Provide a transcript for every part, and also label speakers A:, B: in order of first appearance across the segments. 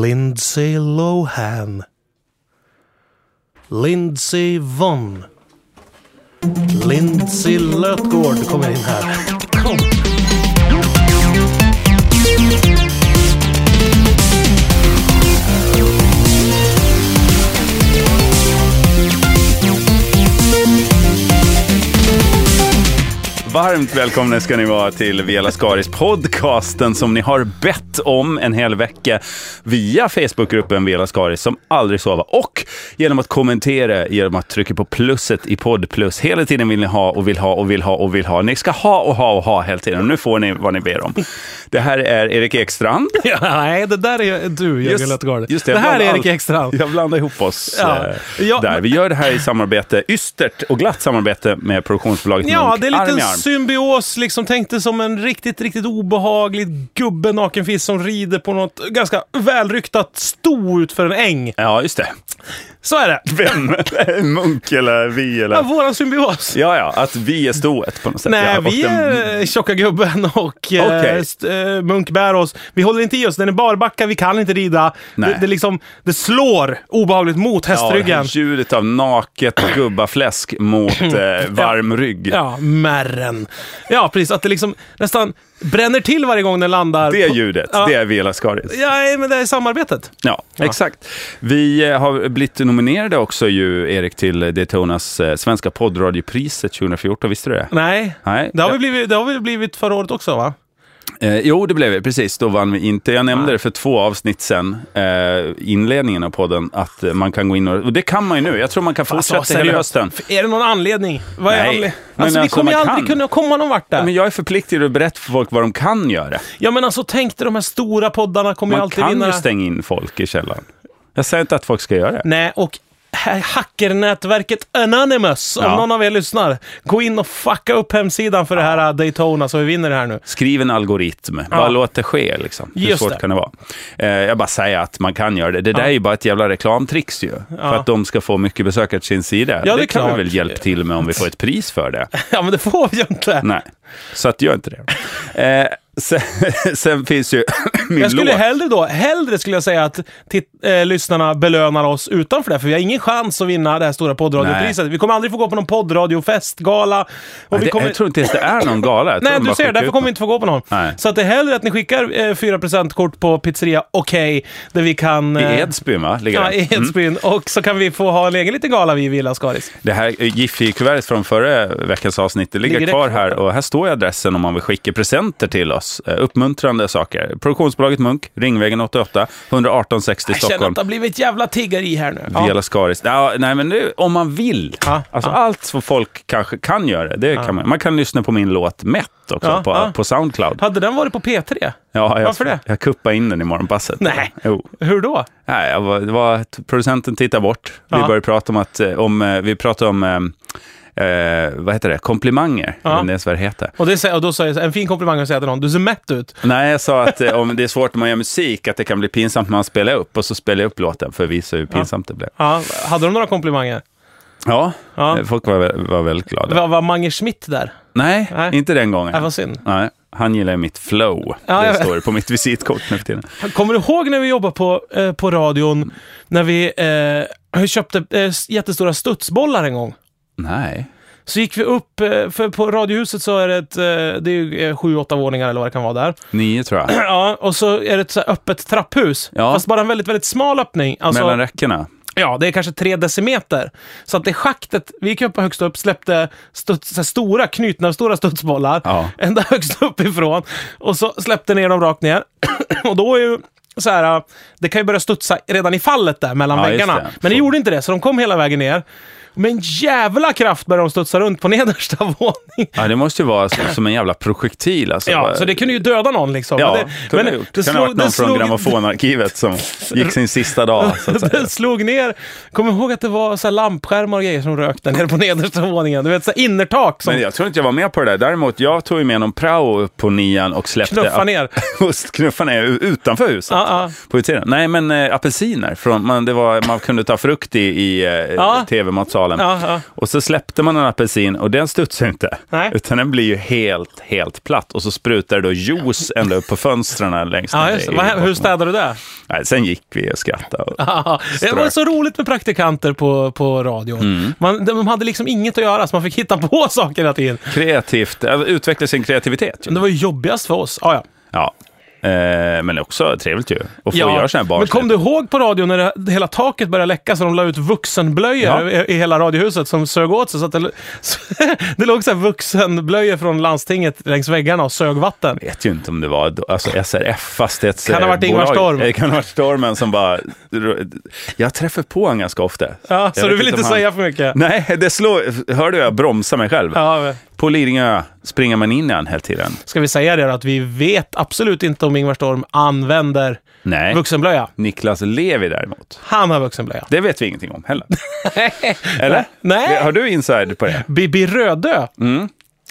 A: Lindsay Lohan. Lindsay Vonn. Lindsay Lötgård kommer in här.
B: Varmt välkomna ska ni vara till Vela Skaris podcasten som ni har bett om en hel vecka via Facebookgruppen Vela Skaris som aldrig sova och genom att kommentera genom att trycka på plusset i podd plus. Hela tiden vill ni ha och vill ha och vill ha och vill ha. Ni ska ha och ha och ha hela tiden. Nu får ni vad ni ber om. Det här är Erik Ekstrand.
A: Ja, nej, det där är du, Jörgen Lötgård.
B: just
A: det, här är
B: bland
A: Erik
B: all-
A: Ekstrand.
B: Jag blandar ihop oss
A: Ja.
B: eh,
A: Ja,
B: där.
A: men-
B: Vi gör det här i samarbete, ystert och glatt samarbete med produktionsbolaget
A: Ja,
B: Munk.
A: det är en
B: Arm
A: liten
B: i arm.
A: symbios. Liksom, tänk dig som en riktigt, riktigt obehaglig gubbe nakenfisk som rider på något ganska välryktat sto ut för en äng.
B: Ja, just det.
A: Så är det.
B: Vem? Munk eller vi?
A: Ja,
B: Eller?
A: våran symbios.
B: Ja, ja, att vi är stoet på något sätt. ja,
A: Nej,
B: och
A: vi
B: den-
A: är eh, tjocka gubben och eh,
B: Okej.
A: st- eh, munk bär oss. Vi håller inte i oss. Den är barbacka, vi kan inte rida.
B: Nej.
A: Det, det, liksom, det slår obehagligt mot
B: Ja, det
A: hästryggen.
B: här ljudet av naket gubbafläsk mot eh, varm rygg.
A: Ja, märren. Ja, precis. Att det liksom nästan bränner till varje gång den landar.
B: Det
A: på-
B: ljudet,
A: Ja.
B: det är Vela Skaris.
A: Ja, men det är samarbetet.
B: Ja, exakt. Vi eh, har blivit nominerade också ju, Erik, till Daytonas eh, svenska poddradiopriset 2014. Visste du det?
A: Nej.
B: Nej.
A: Det har, vi blivit, det har vi blivit förra året också va?
B: Eh, jo, det blev vi. Precis, då vann vi inte. Jag nämnde det för två avsnitt sen, eh, inledningen av podden, att eh, man kan gå in och... Och det kan man ju nu. Jag tror man kan fortsätta hela
A: Alltså, seriöst.
B: hösten.
A: Är det någon anledning? Vad är
B: Nej,
A: anle-
B: men
A: Alltså, vi
B: alltså,
A: kommer ju
B: man
A: aldrig
B: kan.
A: kunna komma någon vart där.
B: Men jag är förpliktad att berätta för folk vad de kan göra.
A: Ja men alltså tänk dig de här stora poddarna kommer ju
B: Man
A: alltid
B: kan
A: vinna.
B: ju stänga in folk i källaren. Jag säger inte att folk ska göra det.
A: Nej, och ha- hackernätverket Anonymous, om
B: Ja.
A: någon av er lyssnar. Gå in och fucka upp hemsidan för det här eh, Daytona så vi vinner det här nu.
B: Skriv en algoritm. Bara låt det ske. Liksom. Hur
A: Just
B: svårt
A: det.
B: kan det vara? Eh, jag bara säger att man kan göra det. Det där är ju bara ett jävla reklamtrix ju. För att de ska få mycket besökare till sin sida.
A: Ja, det är
B: det kan vi
A: klart.
B: väl hjälpa till med om vi får ett pris för det.
A: Ja men det får vi ju inte.
B: Nej, så att gör inte det. Eh, sen, sen finns ju min
A: Jag skulle
B: låt.
A: hellre då, hellre skulle jag säga att titt- eh, lyssnarna belönar oss utanför det, för vi har ingen chans att vinna det här stora poddradiopriset. Vi kommer aldrig få gå på någon poddradiofestgala. Och vi
B: det,
A: kommer...
B: Jag tror inte ens det är någon gala. Jag tror
A: Nej,
B: de
A: du
B: bara
A: ser,
B: skickar
A: därför
B: ut
A: kommer vi inte få gå på någon.
B: Nej.
A: Så att det är hellre att ni skickar eh, 4 presentkort på pizzeria Okej, där vi kan...
B: någon.
A: eh,
B: I Edsbyn, va? Ligger
A: Ja,
B: den? Mm.
A: i Edsbyn. Och så kan vi få ha en egen liten gala vi i Villa Skaris.
B: Det här Giffi-kuvertet från förra veckans avsnitt det ligger,
A: Ligger det
B: kvar
A: kvar?
B: här och här står ju adressen om man vill skicka presenter till oss. Eh, Uppmuntrande saker. Produktionsbolaget Munk, Ringvägen 88, 118 60
A: Jag känner att
B: Stockholm.
A: det har blivit ett jävla tiggeri här nu. Ja.
B: Vela Skaris. Ja, nej, men nu, om man vill.
A: Ja,
B: alltså, Allt som folk kanske kan göra. Det kan man. man kan lyssna på min låt Mätt också
A: Ja,
B: på,
A: ja.
B: på Soundcloud.
A: Hade den varit på P3?
B: Ja, jag,
A: Varför det?
B: Jag kuppade in den i morgonpasset.
A: Nej.
B: Jo.
A: Hur då?
B: Nej, jag var, det var att producenten tittade bort. Vi
A: Ja.
B: började prata om att, eh, om, eh, vi pratade om, eh, eh, vad heter det, komplimanger. Jag vet inte ens vad det heter.
A: Och, det, säger- och då säger jag så här, en fin komplimang att säga till någon, du ser mätt ut.
B: Nej, jag sa att eh, om det är svårt när man gör musik, att det kan bli pinsamt när man spelar upp. Och så spelade jag upp låten för att visa hur pinsamt det blev.
A: Ja, hade de några komplimanger?
B: Ja,
A: Ja.
B: eh, folk var, vä- var väldigt glada.
A: Var, var Mange Schmidt där?
B: Nej,
A: Nej.
B: inte den gången.
A: Nej, vad synd.
B: Nej, han gillar ju mitt flow.
A: Ja, jag
B: det
A: vet.
B: står det på mitt visitkort nu för tiden.
A: Kommer du ihåg när vi jobbade på, eh, på radion, när vi eh, köpte eh, jättestora studsbollar en gång?
B: Nej.
A: Så gick vi upp, eh, för på radiohuset så är det ett, eh, det är ju eh, sju, åtta våningar eller vad det kan vara där.
B: Nio tror jag.
A: Ja, och så är det ett så här öppet trapphus.
B: Ja.
A: Fast bara en väldigt, väldigt smal öppning. Alltså,
B: Mellan räckena.
A: Ja, det är kanske tre decimeter. Så att det schaktet, vi gick upp högst upp, släppte studs, så här stora, knutna, stora studsbollar.
B: Ja.
A: Ända högst uppifrån. Och så släppte ner dem rakt ner. och då är ju så här, det kan ju börja studsa redan i fallet där mellan
B: Ja, just
A: väggarna.
B: det.
A: Men det
B: Så.
A: gjorde inte det, så de kom hela vägen ner. Med en jävla kraft började de studsa runt på nedersta våningen.
B: Ja, det måste ju vara som, som en jävla projektil. Alltså.
A: Ja,
B: Bara-
A: så det kunde ju döda någon liksom.
B: Ja,
A: Men det,
B: kunde
A: men
B: ha gjort. Det kan ha varit någon från grammofonarkivet som gick sin sista dag. Så att säga.
A: Den slog ner, kom ihåg att det var så här lampskärmar och grejer som rökte ner på nedersta våningen. Du vet, så här innertak som
B: Men jag tror inte jag var med på det där. Däremot, jag tog ju med någon prao upp på nian och släppte...
A: knuffade ner.
B: Och knuffade ner utanför huset.
A: Ja, ja.
B: På utsidan. Nej, men eh, apelsiner. Från, man, det var, man kunde ta frukt i, i eh,
A: Ja.
B: Salem.
A: Ja, ja.
B: Och så släppte man en apelsin och den studsar inte.
A: Nej.
B: Utan den blir ju helt, helt platt. Och så sprutar det då juice ända upp på fönstren längst
A: Ja,
B: ner
A: just, det.
B: i
A: Vad hä- hur
B: botten.
A: städar du det?
B: Nej, sen gick vi och skrattade. Och...
A: det var så roligt med praktikanter på, på radion.
B: Mm.
A: Man, de hade liksom inget att göra, så man fick hitta på saker hela tiden.
B: Kreativt, äh, utveckla sin kreativitet.
A: Men
B: Ju.
A: det var ju jobbigast för oss. Ah, ja.
B: Ja. Eh, men också trevligt ju. Att få göra sådana här
A: Men
B: barnsliga
A: kom du ihåg på radion när det, hela taket började läcka så de la ut vuxenblöjor
B: Ja.
A: i, i hela radiohuset som sög åt sig? Så att det, så, det låg så här vuxenblöjor från landstinget längs väggarna och sög vatten.
B: Jag vet ju inte om det var då, alltså SRF, fastighetsbolag.
A: Kan ha varit Ingvar Storm.
B: Eh, Det kan ha varit Stormen som bara... Jag träffar på honom ganska ofta.
A: Ja,
B: Jag
A: så
B: vet
A: du vill inte
B: om han-
A: säga för mycket?
B: Nej, det slår... Hör du, jag bromsar mig själv.
A: Ja,
B: På Lidingö springer man in i han hela tiden.
A: ska vi säga det då, att vi vet absolut inte om Ingvar Storm använder
B: Nej.
A: vuxenblöja.
B: Niklas Levi däremot.
A: Han har vuxenblöja.
B: Det vet vi ingenting om heller. Eller?
A: Nej.
B: Har Mm. du inside på det?
A: Bibi Rödö.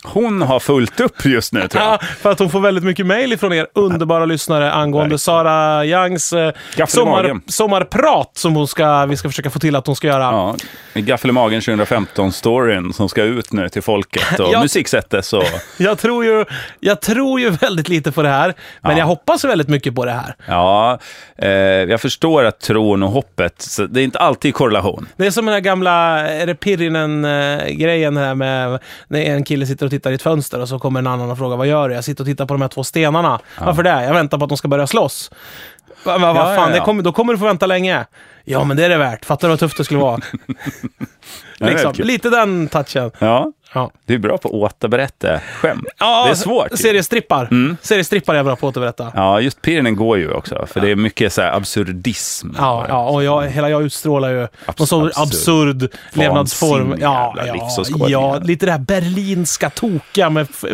B: Hon har fullt upp just nu tror jag.
A: Ja, för att hon får väldigt mycket mejl ifrån er underbara lyssnare angående
B: Verkligen.
A: Sara Youngs eh,
B: Gaffel i
A: sommar,
B: magen.
A: sommarprat som hon ska, vi ska försöka få till att hon ska göra.
B: Ja, Gaffel i magen 2015-storyn som ska ut nu till folket och
A: Ja.
B: musiksättes och...
A: Jag, tror ju, jag tror ju väldigt lite på det här, men jag hoppas väldigt mycket på det här.
B: Ja, eh, jag förstår att tron och hoppet, så det är inte alltid korrelation.
A: Det är som den här gamla, är det Pirinen-grejen här med när en kille sitter och tittar i ett fönster och så kommer en annan och frågar vad gör du? Jag sitter och tittar på de här två stenarna. Varför det? Jag väntar på att de ska börja slåss. Va, va, va,
B: Ja, ja,
A: fan, Det
B: ja.
A: kommer, då kommer du få vänta länge. Ja, men det är det värt. Fattar du vad tufft det skulle vara?
B: Ja, det är
A: liksom,
B: kul.
A: lite den touchen.
B: Ja,
A: Ja.
B: du är bra på att återberätta skämt.
A: Ja,
B: det är svårt. ju. Mm.
A: Seriestrippar. Seriestrippar är jag bra på att återberätta. Ja.
B: Ja, just Pirinen går ju också, för det är mycket så här absurdism.
A: Ja, och jag, hela jag utstrålar ju någon sån absurd,
B: absurd.
A: levnadsform.
B: Vansinnig
A: Ja,
B: jävla
A: ja,
B: livsåskådning.
A: ja, lite det här berlinska tokiga med f-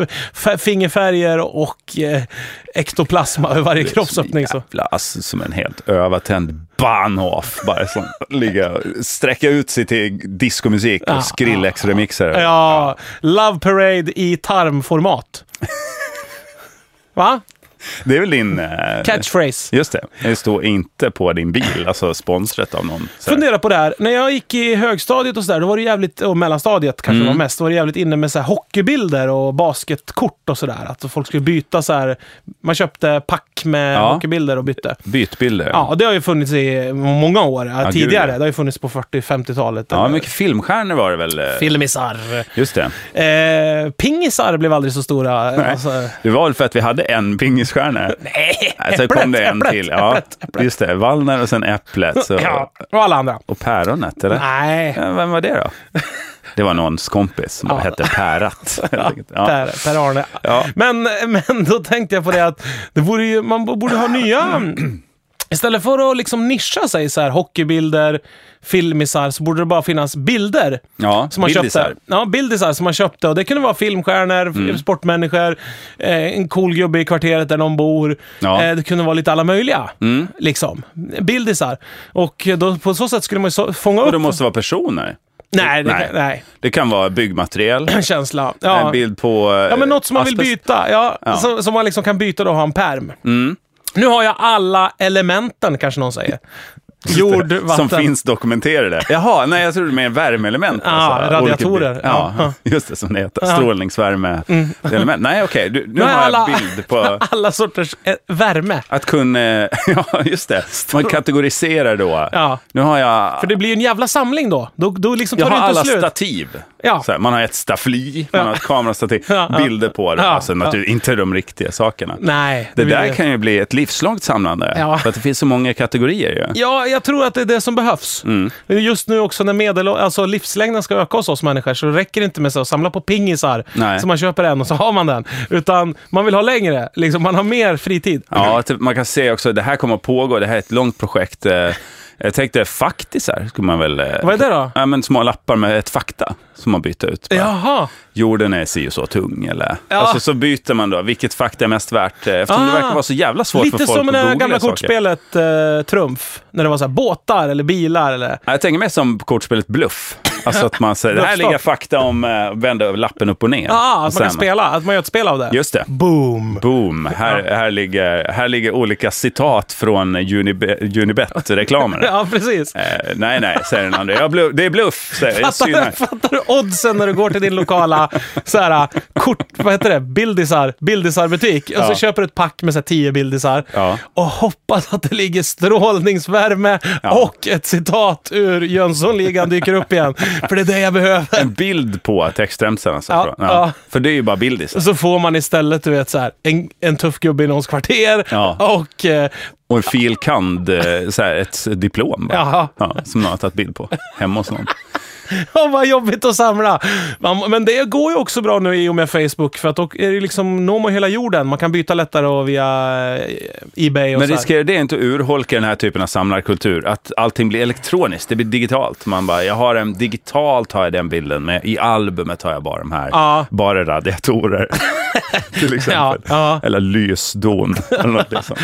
A: f- fingerfärger och eh, ektoplasma över varje
B: Det är
A: kroppsöppning. Så.
B: jävla, alltså, som en helt övertänd Bahnhof. Bara som, ligga, och sträcka ut sig till discomusik och Skrillex-remixer.
A: Ja, Love Parade i tarmformat. Va?
B: Det är väl din... eh,
A: Catchphrase.
B: Just det. Det står inte på din bil, alltså sponsret av någon. så här.
A: Fundera på det här. När jag gick i högstadiet och sådär, då var det jävligt, och mellanstadiet kanske
B: Mm.
A: var mest, då var det jävligt inne med så här hockeybilder och basketkort och sådär. Att folk skulle byta så här. Man köpte pack med
B: Ja.
A: hockeybilder och bytte.
B: Bytbilder.
A: Ja, och det har ju funnits i många år eh,
B: gud,
A: tidigare.
B: ja.
A: Det har ju funnits på 40-50-talet.
B: Ja,
A: Eller-
B: mycket filmstjärnor var det väl? eh,
A: Filmisar.
B: Just det.
A: Eh, pingisar blev aldrig så stora. Nej, alltså,
B: Det var väl för att vi hade en pingisstjärna?
A: nej
B: Nej, sen kom det en
A: äpplet,
B: till. Ja,
A: äpplet, äpplet.
B: Just det, Wallner och sen Äpplet. Så.
A: Ja, och alla andra.
B: Och Päronet, eller?
A: Nej,
B: Ja, vem var det då? Det var någons kompis som
A: Ja.
B: hette Pärat. helt enkelt. Ja.
A: Per, per Arne.
B: Ja.
A: Men, men då tänkte jag på det att det vore ju, man borde ha nya... Istället för att liksom nischa sig så här, hockeybilder, filmisar, så borde det bara finnas bilder.
B: Ja,
A: som man
B: bildisar. Mm.
A: köpte. Ja, bildisar som man köpte. Och det kunde vara filmstjärnor, sportmänniskor, eh, en cool gubbe i kvarteret där någon bor.
B: Ja. Mm.
A: Eh, det kunde vara lite alla möjliga. Liksom. Bildisar. Och då, på så sätt skulle man ju så, fånga
B: Och
A: upp...
B: de måste vara personer.
A: Nej, det,
B: Nej.
A: nej. nej.
B: Det kan vara byggmaterial,
A: En känsla. Ja.
B: en bild på eh,
A: Ja, men något som man vill byta. Ja,
B: Ja. Mm.
A: Som, som man liksom kan byta då och ha en perm. Nu har jag alla elementen, kanske någon säger. Jord, vatten.
B: Som finns dokumenterade. Jaha, nej jag trodde mer värmeelement. alltså,
A: Ja,
B: olika
A: Ah, radiatorer.
B: bild- Ja, just det som det heter. Strålningsvärmeelement. Nej, okej. du- Nu
A: Nu
B: har jag
A: alla-
B: bild på...
A: Alla sorters eh, värme.
B: Att kunna, ja just det, man kategoriserar då.
A: Ja.
B: Nu har jag,
A: För det blir ju en jävla samling då. Då, då liksom tar
B: jag har
A: det inte
B: alla
A: slut.
B: stativ.
A: Ja.
B: Så här, man har ett staffli, man har ett kamerastativ,
A: Ja, ja.
B: bilder på det.
A: Ja,
B: alltså naturligtvis inte de riktiga sakerna.
A: Nej.
B: Det,
A: blir
B: där kan ju bli ett livslångt samlande,
A: Ja.
B: för att det finns så många kategorier ju.
A: Ja, jag tror att det är det som behövs.
B: Mm.
A: Just nu också när medel, alltså livslängden ska öka hos oss människor så räcker det inte med så att samla på pingisar.
B: Nej.
A: Så man köper en och så har man den. Utan man vill ha längre. Liksom, man har mer fritid.
B: Ja, typ, man kan se också, det här kommer att pågå, det här är ett långt projekt. Eh, Jag tänkte faktisar, skulle man väl... eh,
A: Vad är det då?
B: Ja, men små lappar med ett fakta som man byter ut. bara.
A: Jaha.
B: jorden är si och så tung. Eller?
A: Ja.
B: Alltså så byter man då, vilket fakta är mest värt? eh, Eftersom det
A: Ah.
B: verkar vara så jävla svårt för
A: Lite
B: folk
A: som
B: att
A: det
B: googla
A: där gamla
B: saker.
A: kortspelet eh, Trumf. När det var så här, båtar eller bilar eller...
B: Ja, Jag tänker mig som kortspelet Bluff. Alltså att man säger,
A: Jag
B: här
A: förstår.
B: ligger fakta om, eh, vända lappen upp och ner.
A: Ja,
B: och
A: Ah, att man kan
B: sen-
A: spela. Att man gör ett spel av det.
B: Just det.
A: Boom!
B: Boom! Här, här, ligger, här ligger olika citat från Unibe- Unibet-reklamer.
A: Ja, precis.
B: Eh, nej, nej, säger den andra. Jag blu- det är bluff, säger jag.
A: Fattar du,
B: synar.
A: fattar du oddsen när du går till din lokala så här, kort, vad heter det? Bildisar, bildisarbutik och så
B: Ja.
A: köper du ett pack med så här, tio bildisar
B: Ja.
A: och hoppas att det ligger strålningsvärme
B: Ja.
A: och ett citat ur Jönssonligan dyker upp igen. För det är det jag behöver.
B: En bild på textremsan alltså.
A: Ja,
B: tror jag.
A: ja.
B: För det är ju bara bildis.
A: Och Så får man istället du vet, så här, en, en tuff gubbe i någons kvarter
B: Ja.
A: och eh,
B: Och en filkand, eh, så här, ett diplom bara.
A: Jaha.
B: Ja, som någon har tagit bild på hemma hos någon.
A: Ja, vad jobbigt att samla. Man, men det går ju också bra nu i och med Facebook, för att då är det liksom, når man hela jorden. Man kan byta lättare och via eh, Ebay och
B: Men
A: så här.
B: riskerar det inte att urholka den här typen av samlarkultur? Att allting blir elektroniskt, det blir digitalt. Man bara, jag har en, digitalt har jag den bilden, men i albumet har jag bara de här.
A: Ja.
B: Bara radiatorer, till exempel.
A: Ja, ja.
B: Eller lysdon, eller något sånt.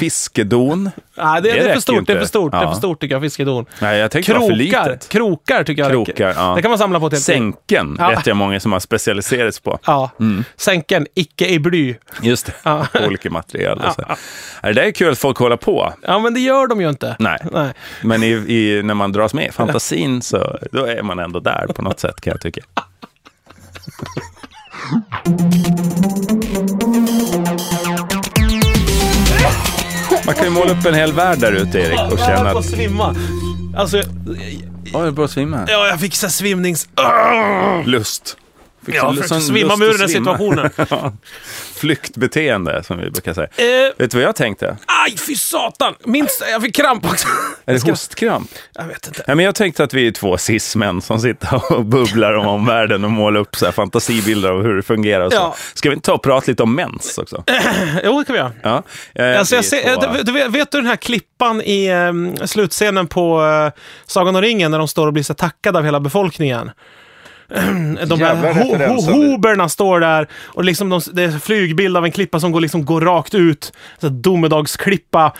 B: Fiskedon.
A: Nej, Ah, det,
B: det
A: det, är
B: räcker
A: för stort, det är
B: inte.
A: för stort, det är
B: Ja.
A: för stort tycker jag, fiskedon.
B: Nej, jag tänkte det var för
A: Krokar,
B: litet.
A: krokar tycker jag
B: Krokar,
A: räcker.
B: ja.
A: Det kan man samla på till ett liv.
B: Sänken
A: Ja.
B: vet jag många som har specialiserats på.
A: Ja.
B: Mm.
A: Sänken, icke i bly.
B: Just det,
A: Ja.
B: på olika material. Och så. Det där är kul att folk håller på.
A: Ja, men det gör de ju inte.
B: Nej.
A: Nej.
B: Men i, i, när man dras med i fantasin så då är man ändå där på något sätt kan jag tycka. Man kan ju måla upp en hel värld där ute Erik
A: jag
B: och känna
A: höll på att
B: att...
A: svimma. Alltså,
B: Oj, jag börjar svimma.
A: ja, jag fick så här svimnings... Ah!
B: Lust. Fick
A: Jag
B: sån
A: försökte
B: sån
A: svimma
B: lust
A: mig ur
B: att
A: den här
B: svimma.
A: situationen.
B: Ja. Flyktbeteende som vi brukar säga.
A: Eh,
B: Vet du vad jag tänkte?
A: aj, fy satan! Minst, jag fick kramp också.
B: Är det hostkramp?
A: Jag vet inte.
B: Ja, men jag tänkte att vi är två cis-män som sitter och bubblar om omvärlden och målar upp så här fantasibilder av hur det fungerar. Och så.
A: Ja.
B: Ska vi inte ta och prata lite om mens också?
A: Jo, det kan vi göra.
B: Ja. Eh,
A: Alltså jag
B: vi
A: ser,
B: två-
A: eh, du, du, vet- vet du den här klippan i ehm, slutscenen på eh, Sagan om ringen när de står och blir så tackade av hela befolkningen? De
B: Jävla
A: här ho,
B: referens
A: ho,
B: av det.
A: hoberna står där och liksom de, det är en flygbild av en klippa som går, liksom, går rakt ut. Så här domedagsklippa.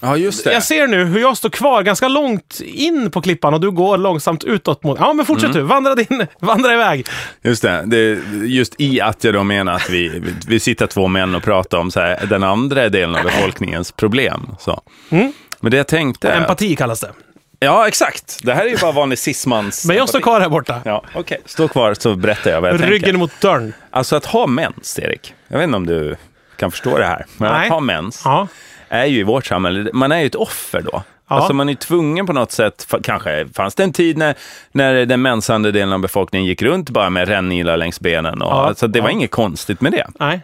B: Ja, just det.
A: Jag ser nu hur jag står kvar ganska långt in på klippan och du går långsamt utåt mot... Ja, men fortsätt
B: Mm.
A: du. Vandra, din, vandra iväg.
B: Just det. det. är Just i att jag då menar att vi, vi sitter två män och pratar om så här, den andra delen av befolkningens problem. Så.
A: Mm.
B: Men det jag tänkte...
A: Empati kallas det.
B: Ja, exakt. Det här är ju bara vanlig cis-mans...
A: Men jag står kvar här borta.
B: Ja, okej. Stå kvar så berättar jag vad jag tänker.
A: Ryggen mot dörren.
B: Alltså att ha mens, Erik. Jag vet inte om du kan förstå det här. Men
A: Nej.
B: att ha mens
A: Ja.
B: är ju i vårt samhälle, man är ju ett offer då.
A: Ja.
B: Alltså man är ju tvungen på något sätt, fa- kanske fanns det en tid när, när den mensande delen av befolkningen gick runt bara med rännilar längs benen. Och,
A: Ja.
B: Alltså det var inget konstigt med det.
A: Nej.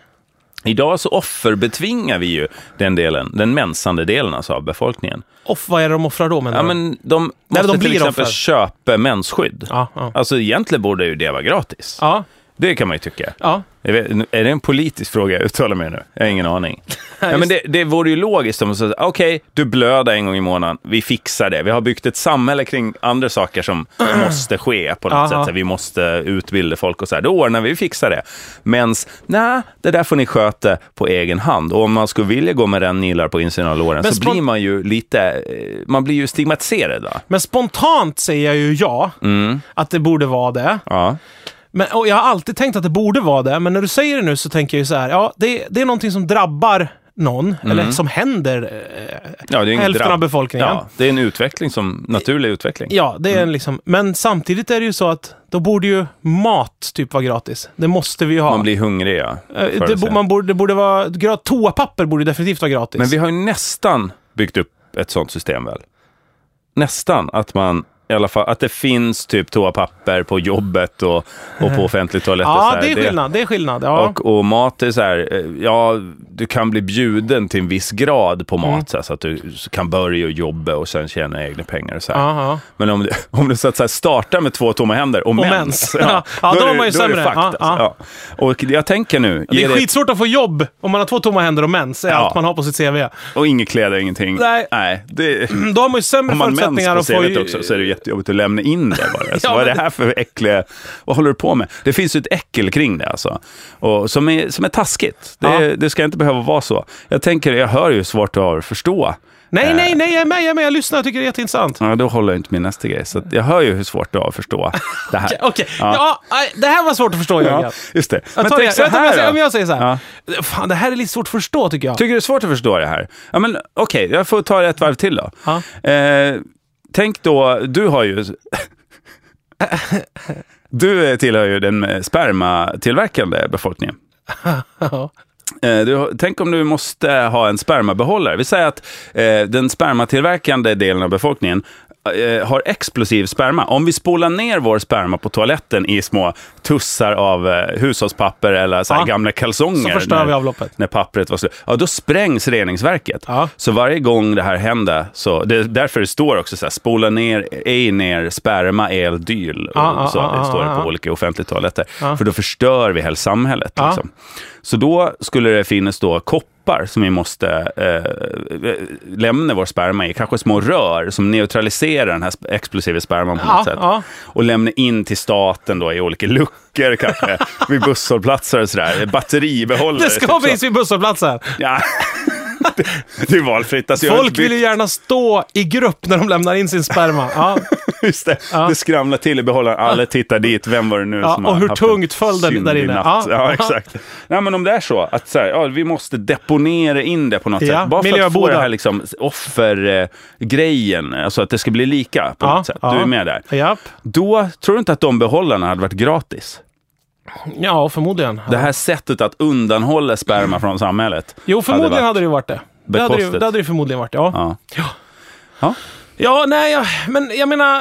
B: Idag så offerbetvingar vi ju den delen, den mensande delen alltså av befolkningen.
A: Off, vad är det de offrar då menar
B: Ja,
A: du?
B: men de måste
A: de blir
B: till exempel
A: offer.
B: köpa mensskydd.
A: Ja, ja.
B: Alltså egentligen borde ju det vara gratis.
A: Ja.
B: Det kan man ju tycka.
A: Ja.
B: Jag vet, är det en politisk fråga jag uttalar mig nu? Jag har ingen aning. ja, men det, det vore ju logiskt om man sa, okej, du blöder en gång i månaden, vi fixar det. Vi har byggt ett samhälle kring andra saker som måste ske på något
A: Aha.
B: sätt. Så här, vi måste utbilda folk och så här, då ordnar vi, vi fixar det. Men nej, det där får ni sköta på egen hand. Och om man skulle vilja gå med rännilar på insidan av låren
A: Men
B: så
A: spont-
B: blir man ju lite, eh, man blir ju stigmatiserad. Va?
A: Men spontant säger jag ju ja,
B: Mm.
A: att det borde vara det.
B: Ja.
A: Men, och jag har alltid tänkt att det borde vara det, men när du säger det nu så tänker jag ju så här, ja, det, det är någonting som drabbar någon, eller som händer eh,
B: Mm. Ja, det är ju inget
A: hälften
B: drabb-
A: av befolkningen.
B: Ja,
A: Ja.
B: det är en utveckling som, naturlig utveckling.
A: det är en
B: Mm.
A: liksom, men samtidigt är det ju så att då borde ju mat typ vara gratis. Det måste vi ju ha.
B: Man blir hungrig, ja.
A: Eh,
B: förr
A: det,
B: eller
A: bo-
B: senare.
A: man borde, det borde vara, gra- toapapper borde ju definitivt vara gratis.
B: Men vi har ju nästan byggt upp ett sånt system väl? Nästan att man i alla fall, att det finns typ toapapper på jobbet och, och på offentlig toalett. och så
A: ja,
B: här.
A: det är skillnad. Det är skillnad. Ja.
B: Och, och mat är så här, eh, ja, du kan bli bjuden till en viss grad på mat
A: Mm.
B: så, här, så att du kan börja och jobba och sen tjäna egna pengar och så här.
A: Ja, ja.
B: Men om du, om du så att säga startar med två tomma händer och, mens,
A: mens. Ja, då
B: är
A: är
B: det-
A: man ju
B: är det
A: sämre.
B: fucked,
A: Ja,
B: alltså.
A: ja.
B: Ja. Och jag tänker nu,
A: Det
B: ge
A: är
B: dig-
A: skitsvårt att få jobb om man har två tomma händer och mens, är
B: Ja.
A: allt man har på sitt CV.
B: och inga kläder, ingenting.
A: Nej.
B: det,
A: Då har man ju sämre
B: Om man mens
A: förutsättningar
B: på
A: att få...
B: CVt också så är det jättejobbigt att lämna in det bara. Så
A: Ja,
B: vad är
A: men-
B: det här för äckliga... Vad håller du på med? Det finns ju ett äckel kring det alltså. Och som, är, som är taskigt. Det,
A: Ja.
B: det ska inte behöva vara så. Jag tänker, jag hör ju hur svårt du har att förstå
A: Nej, nej, nej, jag är med, jag är med, jag lyssnar, jag tycker det är jätteintressant.
B: Äh. Ja, då håller inte min nästa grej. Så att jag hör ju hur svårt det är att förstå det här.
A: Okej, ja. aj, det här var svårt att förstå Jörgen.
B: Ja, just det.
A: Jag tar
B: tänk
A: det. Vänta, om jag säger-
B: då.
A: om jag säger så här. Fan, det här är lite svårt att förstå tycker jag.
B: Tycker du det är svårt att förstå det här? Ja, men okej, jag får ta det ett varv till då.
A: Ja.
B: Eh, tänk då, du har ju... du eh, tillhör ju den eh, spermatillverkande befolkningen.
A: Ja.
B: Eh, du, har- tänk om du måste ha en spermabehållare. Vi säger att eh, den spermatillverkande delen av befolkningen eh, har explosiv sperma. Om vi spolar ner vår sperma på toaletten i små tussar av eh, hushållspapper eller så här
A: Ja.
B: gamla kalsonger.
A: Så förstör
B: när-
A: vi avloppet.
B: när pappret var slut, ja, då sprängs reningsverket.
A: Ja.
B: Så varje gång det här hände, så det är därför det står också så här, spola ner, ej ner, sperma, el, dyl. Och
A: Ja, ja,
B: så
A: ja,
B: det står det
A: ja,
B: på
A: ja.
B: olika offentliga toaletter. För då förstör vi hela samhället.
A: Ja.
B: Liksom. Så då skulle det finnas då koppar som vi måste eh, lämna vår sperma i, kanske små rör som neutraliserar den här sp- explosiva sperman på
A: Ja,
B: något sätt.
A: ja.
B: Och lämna in till staten då i olika luckor kanske, vid busshållplatser och sådär. Batteribehållare.
A: Det
B: typ
A: ska
B: så.
A: finnas vid busshållplatsen.
B: Ja. Det, det är valfritt. Alltså, jag har
A: Folk
B: inte
A: vill ju
B: bytt-
A: gärna stå i grupp när de lämnar in sin sperma. Ja.
B: Just det. det skramlar till i behållaren. Alla tittar dit. Vem var det nu
A: Ja,
B: som
A: och
B: har
A: hur
B: haft en
A: tungt föll den
B: syndig
A: där inne?
B: natt?
A: Ja.
B: Ja, exakt. Nej, men om det är så att så här, ja, vi måste deponera in det på något
A: Ja,
B: sätt. Bara för att få
A: miljöbodar.
B: det här liksom, offergrejen, alltså att det ska bli lika på
A: Ja,
B: något sätt. Du
A: ja.
B: är med där.
A: Japp.
B: Då tror du inte att de behållarna hade varit gratis?
A: Ja, förmodligen.
B: Det här sättet att undanhålla sperma från samhället.
A: Jo, förmodligen hade,
B: varit-
A: det ju varit det. Det hade det, ju-
B: bekostat.
A: det hade det ju förmodligen varit, ja.
B: Ja.
A: Ja.
B: Ja.
A: Ja, nej, jag, men jag menar...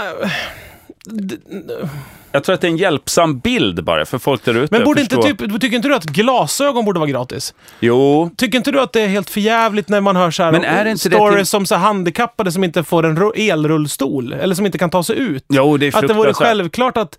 B: Jag tror att det är en hjälpsam bild bara för folk där ute.
A: Men
B: att
A: borde inte,
B: förstå.
A: typ, tycker inte du att glasögon borde vara gratis?
B: Jo,
A: Tycker inte du att det är helt förjävligt när man hör så här
B: Men är det inte det
A: stories
B: till-
A: som så här handikappade som inte får en ru- elrullstol? Eller som inte kan ta sig ut?
B: Jo, det är
A: att det vore
B: fruktansvärt. Mm.
A: självklart att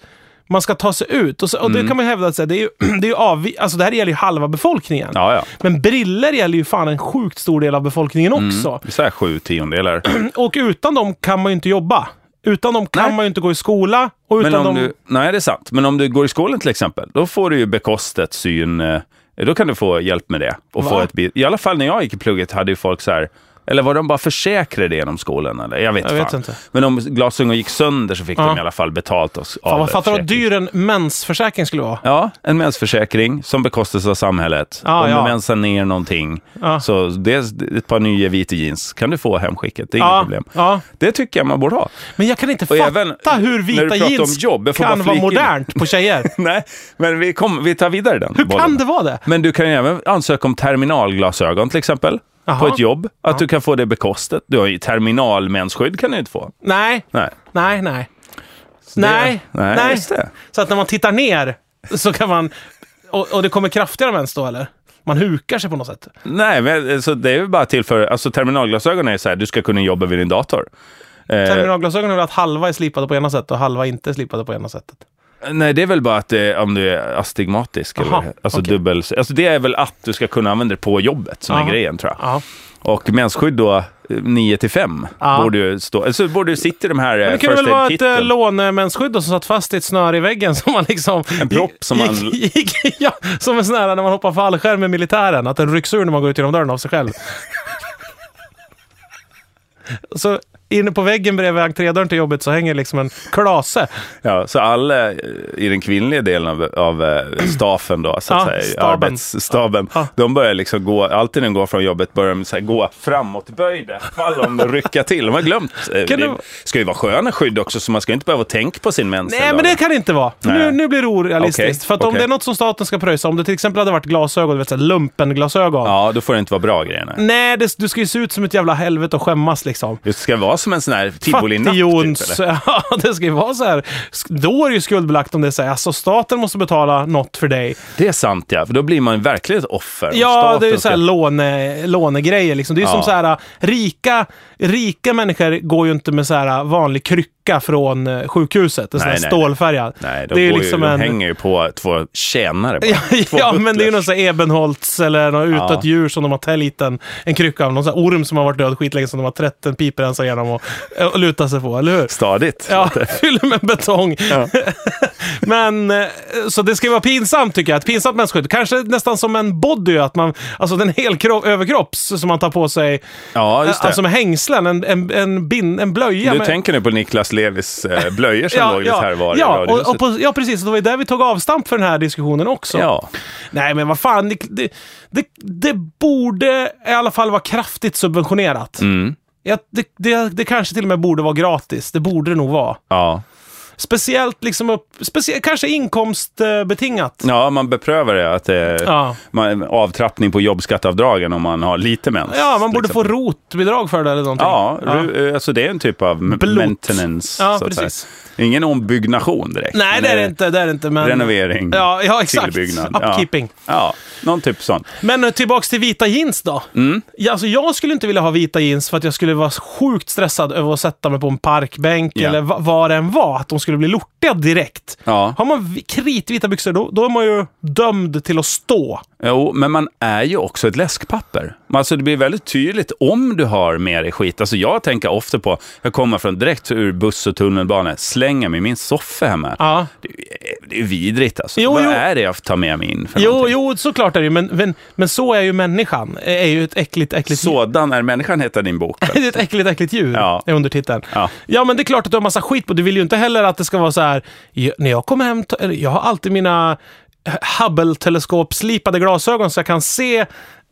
A: man ska ta sig ut. Och, så, och det kan man ju hävda att så här, det, är ju, det, är ju av, alltså, det här gäller ju halva befolkningen.
B: Ja, ja.
A: Men briller gäller ju fan en sjukt stor del av befolkningen också.
B: Det är så här sju tiondelar.
A: Och utan dem kan man ju inte jobba. Utan dem kan
B: Nej.
A: man ju inte gå i skola. Och
B: Men
A: utan
B: om
A: dem...
B: du, nej, det är sant. Men om du går i skolan till exempel, då får du ju bekostat syn. eh, Då kan du få hjälp med det. Och
A: Va?
B: få ett, bi- I alla fall när jag gick i plugget hade ju folk så här, eller var de bara försäkrade det genom skolan? Eller? Jag vet,
A: Jag vet
B: fan.
A: inte.
B: Men om glasögon gick sönder så fick
A: Ja.
B: de i alla fall betalt oss
A: Fan,
B: av
A: vad fattar du vad
B: försäkring.
A: dyr en mensförsäkring skulle vara?
B: Ja, en mensförsäkring som bekostas av samhället.
A: Ja,
B: om
A: ja.
B: du mensar ner någonting,
A: Ja.
B: så det är ett par nya vita jeans kan du få hemskicket. Det är
A: Ja,
B: inget problem.
A: ja.
B: Det tycker jag man borde ha.
A: Men jag kan inte
B: Och
A: fatta
B: även
A: hur
B: när du
A: vita
B: pratar om
A: jeans
B: jobb, jag får bara
A: kan vara
B: flika in.
A: modernt på tjejer.
B: Nej, men vi, kom, vi tar vidare den.
A: Hur kan det vara det?
B: Men du kan ju även ansöka om terminalglasögon till exempel.
A: Jaha.
B: På ett jobb. Att du kan få det bekostat. Du har ju terminalmensskydd kan du inte få.
A: Nej,
B: Nej.
A: nej, nej.
B: det-
A: nej,
B: nej, just det.
A: Så att när man tittar ner så kan man... Och, och det kommer kraftigare mens då eller? Man hukar sig på något
B: Eh.
A: sätt.
B: Nej, men alltså, det är ju bara till för... Alltså terminalglasögon är ju så här, du ska kunna jobba vid din dator. Eh,
A: Terminalglasögon är väl att halva är slipade på ena sättet och halva inte är slipade på ena sättet.
B: nej, det är väl bara att det, om du är astigmatisk.
A: Aha,
B: eller, alltså,
A: okej.
B: dubbel, alltså det är väl att du ska kunna använda det på jobbet som är
A: Aha.
B: grejen tror jag.
A: Ja.
B: Och mensskydd då, 9 till 5,
A: Ja.
B: borde ju stå... Alltså borde ju sitta i de här eh,
A: Men det
B: first
A: kunde väl vara ett äh,
B: aid-kitten.
A: lånemensskydd då som satt fast i ett snöre i väggen som man liksom... En
B: propp som man-
A: Gick, gick, ja, som en sån här när man hoppar fallskärm med militären, att den rycks ur när man går ut genom dörren av sig själv. så inne på väggen bredvid entrédörren till jobbet så hänger liksom en klase.
B: Ja, så alla eh, i den kvinnliga delen av, av eh, stafen då, så att
A: Ja,
B: säga,
A: staben.
B: arbetsstaben,
A: Ja.
B: de börjar liksom gå, alltid när de går från jobbet börjar de så här gå framåtböjda, falla om och rycka till. De har glömt. eh,
A: Kan
B: Det
A: du-
B: ska ju vara sköna skydd också, så man ska inte behöva tänka på sin mens.
A: Nej,
B: hela
A: men det
B: dagen.
A: kan det inte vara. För Nu,
B: Nej.
A: nu blir det orealistiskt.
B: Okej,
A: För att om
B: okej.
A: det är något som staten ska pröjsa, om det till exempel hade varit glasögon, du vet, så här lumpenglasögon.
B: Ja, då får det inte vara bra grejer. Nej.
A: Nej, det, du ska ju se ut som ett jävla helvete och skämmas liksom.
B: Just det ska vara som en sån här tivolinapp.
A: Fattigjons...
B: typ, eller?
A: ja, det ska ju vara så här. Då är det ju skuldbelagt om det säger alltså staten måste betala något för dig.
B: det är sant ja, för då blir man verkligen ett offer. om
A: Ja, det är ju
B: staten
A: så här
B: ska-
A: låne, lånegrejer liksom. Det är ju
B: Ja.
A: som så här, rika, rika människor går ju inte med så här vanlig krycka jacka från eh, sjukhuset. En sån
B: Nej,
A: här
B: nej,
A: stålfärgad.
B: Nej, de,
A: det är ju
B: går
A: liksom
B: ju, de
A: en...
B: hänger ju på två tjänare bara.
A: Ja,
B: Två
A: ja men det är ju
B: butlers.
A: någon sån här ebenholts eller något utdött djur som de har täljt en, en krycka av. Någon sån här orm som har varit död skitlänge som de har trätt en piprensare genom och, och lutat sig på, eller hur?
B: Stadigt.
A: Ja, fyller med betong. men, eh, så det ska ju vara pinsamt tycker jag. Ett pinsamt mensskydd. Kanske nästan som en body, att man, alltså den hel kro- överkropps som man tar på sig.
B: Ja, just det.
A: Alltså med hängslen, en, en, en, bin, en blöja.
B: du
A: med,
B: tänker nu på Niklas Levis eh, blöjor som låg lite här och var i
A: ja, och,
B: radiohuset.
A: och på, ja, precis. Det var ju där vi tog avstamp för den här diskussionen också.
B: Ja.
A: Nej, men vad fan. Det, det, det, det borde i alla fall vara kraftigt subventionerat.
B: Mm.
A: Ja, det, det, det kanske till och med borde vara gratis. Det borde det nog vara.
B: Ja.
A: Speciellt liksom upp, specie, kanske inkomstbetingat.
B: ja, man beprövar det. Att, eh,
A: Ja.
B: man, avtrappning på jobbskattavdragen om man har lite mens.
A: Ja, man borde
B: till
A: få
B: exempel.
A: rotbidrag för det eller någonting.
B: Ja, ru- eh, alltså det är en typ av m-
A: Blot.
B: maintenance.
A: Ja,
B: så att
A: precis.
B: säga. Ingen ombyggnation direkt.
A: Nej,
B: men eh,
A: det är det inte. Det är det inte men...
B: Renovering,
A: Ja, ja exakt.
B: tillbyggnad. Ja.
A: Upkeeping.
B: Ja, någon typ sånt.
A: Men eh, tillbaks till vita jeans då.
B: Mm.
A: Ja, alltså, jag skulle inte vilja ha vita jeans för att jag skulle vara sjukt stressad över att sätta mig på en parkbänk
B: Ja.
A: eller va- vad det än var. Att de skulle bli lortiga direkt.
B: Ja.
A: Har man vi- kritvita byxor då, då är man ju dömd till att stå.
B: Jo, men man är ju också ett läskpapper. Men Alltså det blir väldigt tydligt om du har med dig skit. Alltså jag tänker ofta på, jag kommer från direkt ur buss och tunnelbana, slänger mig i min soffa hemma.
A: Ja.
B: Det, är- det är vidrigt alltså.
A: Ah. Jo,
B: Vad
A: jo.
B: är det jag tar med mig in för
A: Jo,
B: någonting?
A: jo, såklart är det ju. Men, men, men så är ju människan. Eh, är ju ett äckligt, äckligt
B: Sådan är människan, heter din bok.
A: Det är ett äckligt, äckligt djur,
B: Ja.
A: är undertiteln.
B: Ja.
A: men det är klart att du har massa skit på. Du vill ju inte heller att det ska vara så här, "Ja, när jag kommer hem, ta- eller, jag har alltid mina eh, Hubble-teleskop-slipade glasögon så jag kan se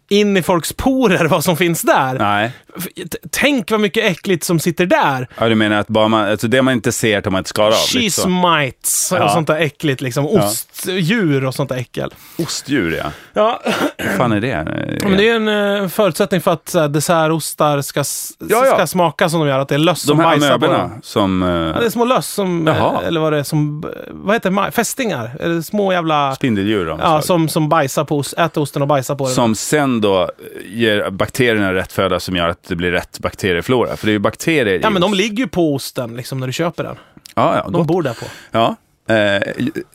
A: in i folks porer vad som finns där.
B: Nej,
A: F- t- Tänk vad mycket äckligt som sitter där.
B: ja, du menar att bara man, alltså det man inte ser tar man inte skada av? liksom. lite
A: Cheese
B: så.
A: mites och
B: Ja.
A: sånt där äckligt liksom. Ostdjur och sånt där äckel.
B: Ostdjur ja.
A: Ja,
B: Vad fan är det?
A: men det är ju en eh, förutsättning för att så här, dessertostar ska, s-
B: Ja, ja.
A: ska smaka som de gör, att det är löss som
B: De här
A: bajsar på dem.
B: amöberna som... eh,
A: Ja, det är små löss som, eh,
B: Jaha.
A: eller vad det är som, vad heter det, Ma- fästingar? Eller små jävla,
B: Spindeldjur av något
A: ja,
B: slag.
A: som, som bajsar på, os- äter osten och bajsar på den.
B: Som sen då ger bakterierna rätt föda som gör att det blir rätt bakterieflora. För det är ju bakterier i
A: Ja men de
B: ost.
A: ligger ju på osten liksom när du köper den.
B: Ja, ja,
A: De
B: gott.
A: bor där på.
B: ja. Eh,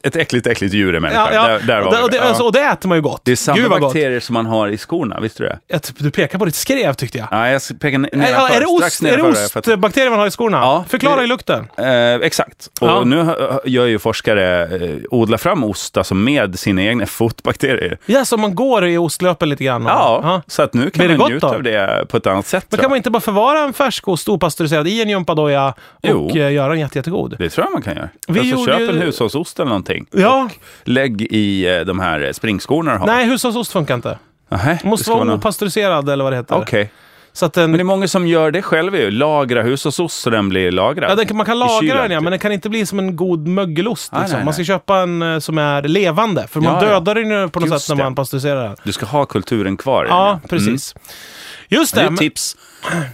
B: ett äckligt, äckligt djur är människan.
A: Ja, ja.
B: Där, där var
A: och, det, och,
B: vi.
A: det,
B: Ja.
A: alltså, och det äter man ju gott.
B: det är samma
A: Gud vad gott.
B: bakterier som man har i skorna, visste du det?
A: Jag, typ- du pekar på ditt skrev tyckte jag. Eh,
B: Ja, jag ska peka n- nedanför,
A: Ja, är det
B: strax
A: ost, är det
B: nedanför där, för att-
A: ostbakterier man har i skorna?
B: Ja,
A: Förklara
B: det-
A: i lukten.
B: Eh, exakt. Och
A: Ja.
B: nu hö- gör ju forskare, eh, odlar fram ost alltså med sina egna fotbakterier.
A: Ja, så man går i ostlöpen lite grann. och-
B: Ja, så att nu
A: Blir
B: kan
A: det
B: man
A: gott
B: njuta
A: då?
B: av det på ett annat sätt.
A: Men
B: tror jag.
A: kan man inte bara förvara en färskost opastöriserad i en gympadoja
B: Jo.
A: och eh, göra den jätte, jättegod?
B: Det tror jag man kan göra.
A: Vi
B: alltså,
A: gjorde
B: köp
A: ju-
B: en hushållsost eller någonting.
A: Ja,
B: Lägg i eh, de här eh, springskorna du har.
A: nej hushållsost funkar inte.
B: Nej,
A: Det måste vara opastöriserad eller vad det heter.
B: Okej.
A: Så att den,
B: Men det är många som gör det själv ju. Lagra hushållsost så den blir lagrad.
A: ja, den, kan- man kan
B: I
A: lagra
B: kylen,
A: den, ja,
B: typ.
A: men den kan inte bli som en god mögelost.
B: Nej,
A: Liksom.
B: nej,
A: Man ska
B: nej.
A: köpa en eh, som är levande, för
B: Ja,
A: man
B: ja.
A: dödar den ju på något
B: Just
A: sätt när
B: det.
A: man pasteuriserar den.
B: Du ska ha kulturen kvar. i den,
A: Ja, precis. Just det,
B: Mm. Det är ett
A: men-
B: tips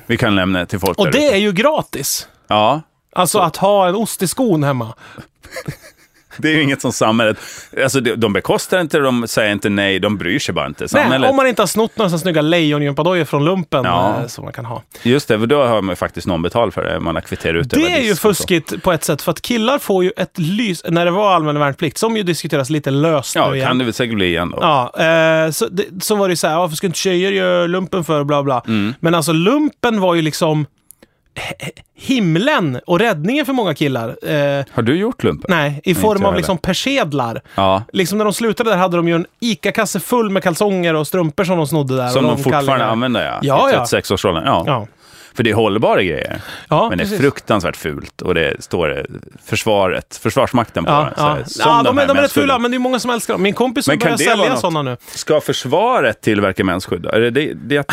B: vi kan lämna till folk
A: och
B: där
A: det
B: ute.
A: är ju gratis.
B: Ja,
A: Alltså att ha en ost i skon hemma.
B: det är ju inget som samhället... Alltså, de de bekostar inte, de säger inte nej, de bryr sig bara inte. Samhället...
A: Nej, om man inte har snott några sådana snygga lejongympadojor från lumpen
B: Ja.
A: eh, som man kan ha.
B: Just det, för då har man ju faktiskt någon betalt för det. Man har kvitterat ut
A: Det
B: över
A: är ju
B: disk och så.
A: fuskigt på ett sätt, för att killar får ju ett lys, när det var allmän värnplikt, som ju diskuteras lite löst
B: Ja,
A: nu igen.
B: kan det väl säkert bli igen då.
A: Ja, eh, så, det, så var det ju så här, varför ska inte tjejer göra lumpen för bla bla.
B: Mm.
A: Men alltså lumpen var ju liksom he- he- himlen och räddningen för många killar. Eh,
B: Har du gjort lumpen?
A: nej, i
B: jag
A: form av
B: heller.
A: liksom persedlar.
B: Ja.
A: Liksom när de slutade där hade de ju en ICA-kasse full med kalsonger och strumpor som de snodde där.
B: Som
A: och
B: de fortfarande
A: kallingar.
B: använder, ja.
A: Ja,
B: I
A: ja.
B: 36-årsåldern. Ja.
A: Ja,
B: För det är hållbara grejer.
A: ja
B: Men det är
A: precis.
B: fruktansvärt fult och det står eh, försvaret, Försvarsmakten på
A: Ja,
B: den. Så
A: ja.
B: här, som
A: ja, de,
B: här
A: är- de är rätt
B: mensskydden.
A: fula, men det är många som älskar dem. Min kompis som
B: Men kan
A: börjar
B: det vara
A: sälja
B: något?
A: sådana nu.
B: Ska försvaret tillverka mensskydd? då? Är det, det, det,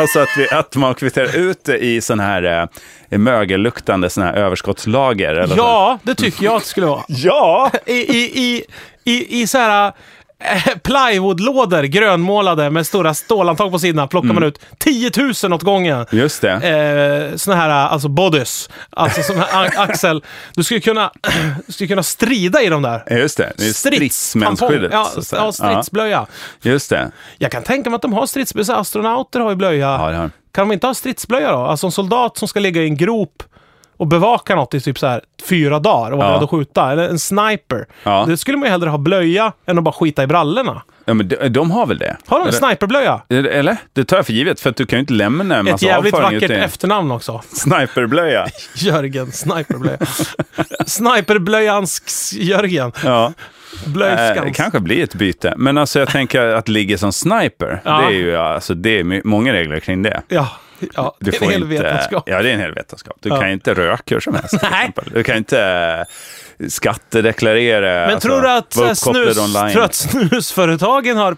B: alltså att, vi, att man kvitterar ut det i sån här eh, mögelluktande sån här överskottslager? Eller så.
A: Ja, det tycker jag att det skulle vara.
B: ja!
A: i, i, i, i, i så här eh, plywoodlådor, grönmålade med stora stålantag på sidorna, plockar
B: Mm.
A: man ut 10 000 åt gången.
B: Just det.
A: Eh, såna här eh, alltså bodies, alltså såna här a- axel. Du skulle kunna, du skulle kunna strida i de där.
B: Ja, Just det, det är
A: Strids-
B: Eh, stridsmensskyddet.
A: tampong.
B: så att säga.
A: Ja, ja, stridsblöja.
B: Ja, just det.
A: Jag kan tänka mig att de har stridsblöja. Så Astronauter har ju blöja.
B: Ja, det har de.
A: Kan de inte ha stridsblöja då? Alltså en soldat som ska ligga i en grop och och bevaka något i typ så här fyra dagar och vara
B: Ja.
A: beredd att skjuta. Eller en sniper.
B: Ja.
A: Det skulle man ju hellre ha blöja än att bara skita i brallorna.
B: Ja, men de, de har väl det?
A: Har de en
B: Eller-
A: sniperblöja?
B: Eller? Det tar jag för givet, för att du kan ju inte lämna en
A: Ett
B: massa
A: jävligt
B: avföring
A: vackert
B: utan-
A: efternamn också.
B: Sniperblöja.
A: Jörgen Sniperblöja. Sniperblöjansk Jörgen.
B: Ja. Eh, det
A: Blöjskans.
B: kanske blir ett byte. Men alltså jag tänker att ligga som sniper,
A: Ja.
B: det är ju alltså, det är my- många regler kring det.
A: ja, ja, det är en hel vetenskap.
B: Ja, det är en hel vetenskap. Du
A: Ja.
B: kan ju inte röka hur som helst. till
A: Nej.
B: exempel. Du kan inte eh, skattedeklarera. alltså,
A: Men tror du att så här snus, trött snusföretagen har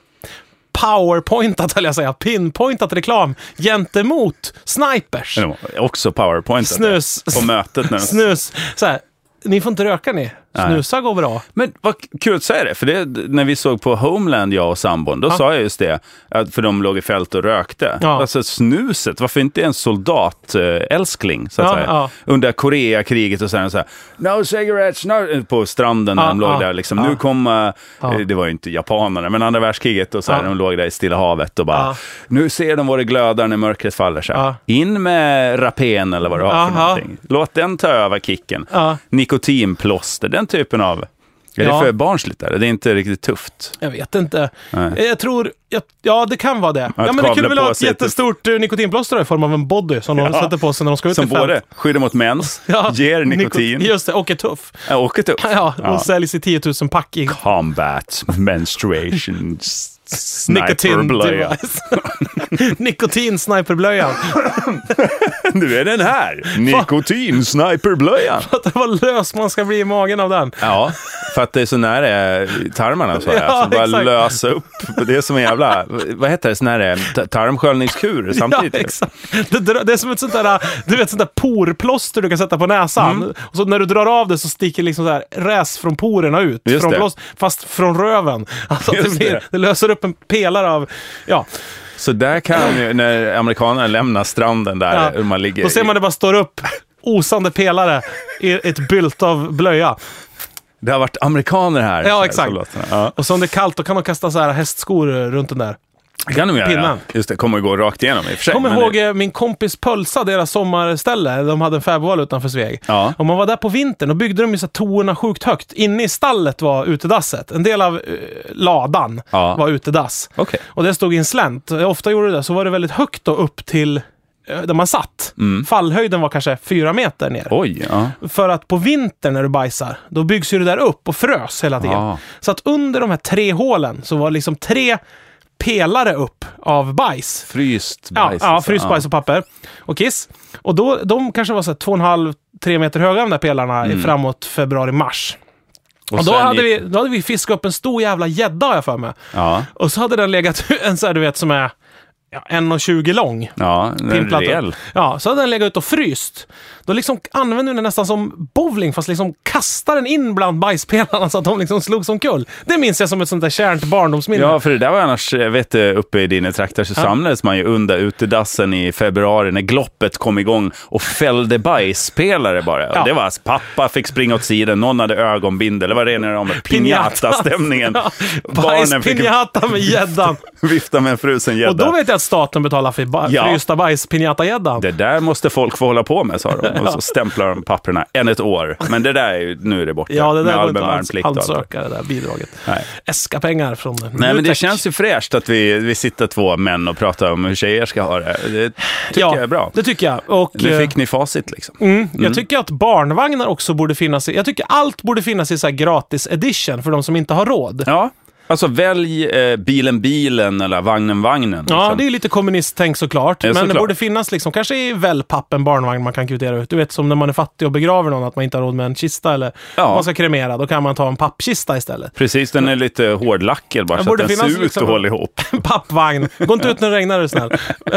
A: powerpointat, höll jag säga, pinpointat reklam gentemot snipers?
B: Också powerpoint.
A: Snus.
B: På mötet. När de...
A: Snus, så här, ni får inte röka ni. Snusa går bra.
B: Men vad kul att säga det, för det, när vi såg på Homeland, jag och sambon, då sa jag just det, att för de låg i fält och rökte.
A: Ja.
B: Alltså snuset, varför inte en soldatälskling, så att
A: Ja,
B: säga.
A: ja.
B: Under Koreakriget och sen så här, no cigarettes, no... på stranden när
A: Ja,
B: de låg
A: ja,
B: där liksom.
A: ja.
B: Nu kom, eh,
A: Ja.
B: det var ju inte japanerna, men andra världskriget och så här,
A: Ja.
B: de låg där i Stilla havet och bara,
A: Ja.
B: nu ser de våra glödar när mörkret faller. Så här.
A: Ja.
B: In med rapen eller vad det var för
A: Aha.
B: någonting. Låt den ta över kicken.
A: Ja.
B: Nikotinplåster, den typen av är
A: Ja.
B: det för barnsligt? Där? Det är inte riktigt tufft.
A: Jag vet inte.
B: Nej.
A: Eh, Jag tror, jag, ja det kan vara det. Ja, men det
B: kavla
A: kunde väl
B: på
A: ha ett
B: sig ett-
A: jättestort eh, nikotinplåster i form av en body som de
B: typ- Ja.
A: sätter på sig när de ska ut
B: Som
A: i fält.
B: både skyddar mot mens,
A: Ja,
B: ger nikotin
A: Just det, och är tuff.
B: och är tufft.
A: Ja, och säljs i 10 000 pack i
B: Combat, menstruation, s- sniperblöja.
A: nikotin-device. Nikotin-sniperblöjan.
B: Nu är den här! Nikotin, sniperblöja.
A: Fattar vad lös man ska bli i magen av den.
B: Ja, för att det är så nära tarmarna så här.
A: Ja,
B: så bara
A: exakt.
B: lösa upp. Det är som en jävla, vad heter det, sån här eh, ta- tarmsköljningskur samtidigt.
A: Ja, exakt. Det, drar- det är som ett sånt där, du vet, sånt där porplåster du kan sätta på näsan.
B: Mm.
A: Och så när du drar av det så sticker liksom så här räs från porerna ut.
B: Just
A: Från
B: det.
A: plåster, fast från röven. Alltså att det,
B: Just
A: blir, det.
B: det.
A: löser upp en pelare av... Ja,
B: Så där kan ju, när amerikanerna lämnar stranden där,
A: ja.
B: hur man ligger
A: Då ser man det bara står upp osande pelare i ett bylt av blöja.
B: Det har varit amerikaner här.
A: Ja,
B: så här,
A: exakt.
B: så låter det. Ja.
A: Och så om det är kallt då kan de kasta så här hästskor runt den där.
B: Det kan de göra.
A: Pinnen.
B: Just det, kommer att gå rakt igenom i och för sig.
A: Jag kommer
B: men
A: ihåg
B: det-
A: eh, min kompis Pölsa, deras sommarställe. De hade en fäbodvall utanför Sveg.
B: Ja.
A: Om man var där på vintern, då byggde de ju så här toorna sjukt högt. Inne i stallet var utedasset. En del av eh, ladan
B: Ja.
A: var utedass.
B: Okej.
A: Och det stod i en slänt. Jag ofta gjorde det, så var det väldigt högt då upp till eh, där man satt.
B: Mm.
A: Fallhöjden var kanske fyra meter ner.
B: Oj, ja.
A: För att på vintern när du bajsar, då byggs ju det där upp och frös hela tiden.
B: Ah.
A: Så att under de här tre hålen så var liksom tre pelare upp av bajs
B: Fryst
A: Ja,
B: bajs.
A: ja
B: alltså.
A: fryst bajs och papper. Och kiss. Och då, de kanske var så här två och en halv, tre meter höga de där pelarna framåt februari-mars.
B: Mm. Och
A: Och då
B: sen
A: hade,
B: gick-
A: vi, då hade vi fiskat upp en stor jävla gädda har jag för mig.
B: Ja,
A: Och så hade den legat en så här, du vet, som är ja, 1,20 lång.
B: ja en
A: Pimplat
B: rejäl.
A: upp. Ja, så hade den legat ut och fryst. Då liksom använde vi den nästan som bowling, fast liksom kastade den in bland bajspelarna så att de liksom slog som kull. Det minns jag som ett sånt där kärt barndomsminne.
B: Ja, för det där var annars, jag vet eh, uppe i dina trakter så samlades man ju under utedassen i februari när gloppet kom igång och fällde bajsspelare bara.
A: Ja.
B: Det var alltså, pappa fick springa åt sidan, någon hade ögonbindel, det var rena om pinjata-stämningen.
A: Ja,
B: Barnen fick
A: Bajspinjata med gäddan.
B: vifta med en frusen
A: Och då
B: gädda.
A: vet jag att staten betalar för ba-
B: Ja.
A: frysta bajs pinjatagäddan.
B: Det där måste folk få hålla på med, sa de. Och så stämplar de papperna än ett år. Men det där är ju, nu är det borta.
A: Ja, det
B: med
A: där går inte
B: allmän
A: att ans-
B: värnplikt och allt.
A: ansöka det där bidraget.
B: Nej.
A: Äska pengar från
B: Nej, men det
A: Nutek.
B: känns ju fräscht att vi, vi sitter två män och pratar om hur tjejer ska ha det. Det tycker
A: ja,
B: jag är bra.
A: det tycker jag. Och,
B: Nu
A: eh,
B: fick ni facit liksom.
A: mm, Jag tycker att barnvagnar också borde finnas i... Jag tycker allt borde finnas i så här gratis edition för de som inte har råd. Ja,
B: Ja, alltså välj eh, bilen bilen eller vagnen vagnen. liksom.
A: det är ju lite kommunisttänk såklart.
B: Ja,
A: men det
B: såklart.
A: borde finnas liksom, kanske i wellpapp en barnvagn man kan kvittera ut. Du vet som när man är fattig och begraver någon, att man inte har råd med en kista eller
B: Ja.
A: om man ska kremera. Då kan man ta en pappkista istället.
B: Precis, den är lite hårdlackad bara,
A: Den
B: så att
A: borde
B: den
A: finnas
B: ser ut
A: liksom-
B: och håller ihop.
A: En pappvagn. Gå inte ut när det regnar är du snäll.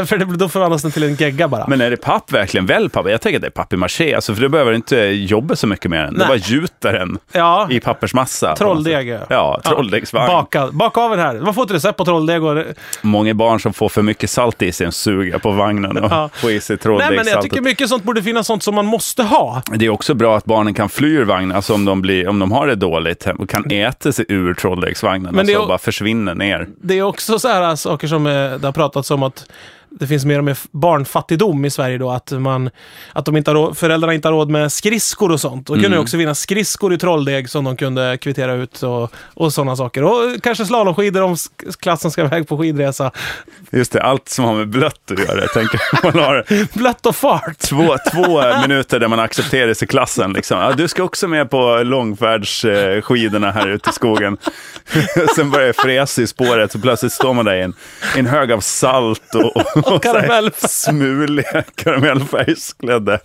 A: För det, då förvandlas den till en gegga bara.
B: Men är det papp verkligen väl papp? Jag tänker att det är papp i maché, alltså, för du behöver inte jobba så mycket med den. Du
A: Nej.
B: bara gjuter den
A: ja,
B: i pappersmassa.
A: trolldeg. ja.
B: Ja, trolldeggsvagn.
A: Baka, baka av den här. Man får ett recept på trolldeg. Och...
B: Många barn som får för mycket salt i sig suger på vagnen och
A: Ja.
B: får i sig
A: Nej, men jag tycker
B: trolldegssaltet.
A: mycket sånt borde finnas sånt som man måste ha.
B: Det är också bra att barnen kan fly ur vagnen, alltså om de, blir, om de har det dåligt, och kan äta sig ur trolldegsvagnen,
A: Men det
B: alltså
A: är-
B: och bara försvinner ner.
A: äh, Det är också så här saker som eh, det har pratats om att det finns mer och mer f- barnfattigdom i Sverige då, att, man, att de inte har råd, föräldrarna inte har råd med skridskor och sånt. Då kunde det också finnas skridskor i trolldeg som de kunde kvittera ut och, och sådana saker. Och kanske slalomskidor om s- klassen ska iväg på skidresa.
B: Just det, allt som har med blött att göra. Jag tänker, man har
A: Blött och fart!
B: två, två minuter där man accepteras i klassen. Liksom. Ja, du ska också med på långfärdsskidorna här ute i skogen. Sen börjar det fräsa i spåret, så plötsligt står man där i en, i en hög av salt och, och, och så här
A: karamellfärg.
B: smuliga karamellfärgsklädda.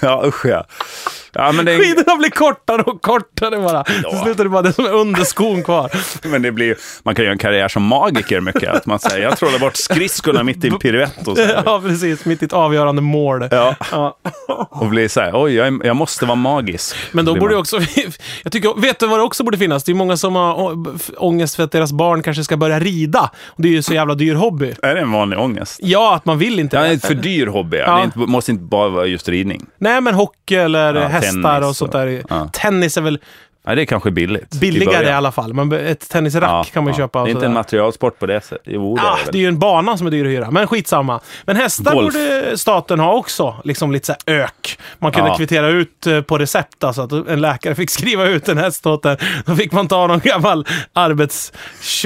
B: Ja, usch ja. ja men, det, är-
A: Skidorna blir kortare och kortare bara. Till slut är det bara det som är under skon kvar.
B: men det blir ju- man kan göra en karriär som magiker mycket. Att man säger, jag trollar bort skridskorna mitt i en piruett och så här.
A: Ja, precis. Mitt i ett avgörande mål.
B: Ja,
A: Ja.
B: och blir så här, oj, jag, är- jag måste vara magisk.
A: Men då
B: Blir
A: borde
B: man.
A: ju också... Jag tycker, vet du vad det också borde finnas? Det är många som har å- ångest för att deras barn kanske ska börja rida. Och det är ju så jävla dyr hobby.
B: Är det en vanlig ångest?
A: Ja, att man vill inte
B: Ja, det
A: det.
B: är en för dyr hobby.
A: Ja.
B: Det är inte, måste inte bara vara just ridning.
A: Nej, men hockey eller
B: Ja,
A: hästar
B: tennis
A: och sånt
B: och-
A: där.
B: ja.
A: Tennis är väl
B: Ja, det är kanske billigt. i
A: billigare i,
B: början.
A: alla fall. Men ett tennisrack kan man ju köpa.
B: Det
A: och
B: är inte
A: sådär.
B: en materialsport på det sättet. Jo, det
A: Ah,
B: är
A: det
B: det
A: är
B: väl.
A: ju en bana som är dyr att hyra, men skitsamma. Men hästar
B: Golf.
A: borde staten ha också, liksom lite så här ök. Man kunde
B: Ja.
A: kvittera ut eh, på recept, alltså att en läkare fick skriva ut en häst åt en. Då fick man ta någon gammal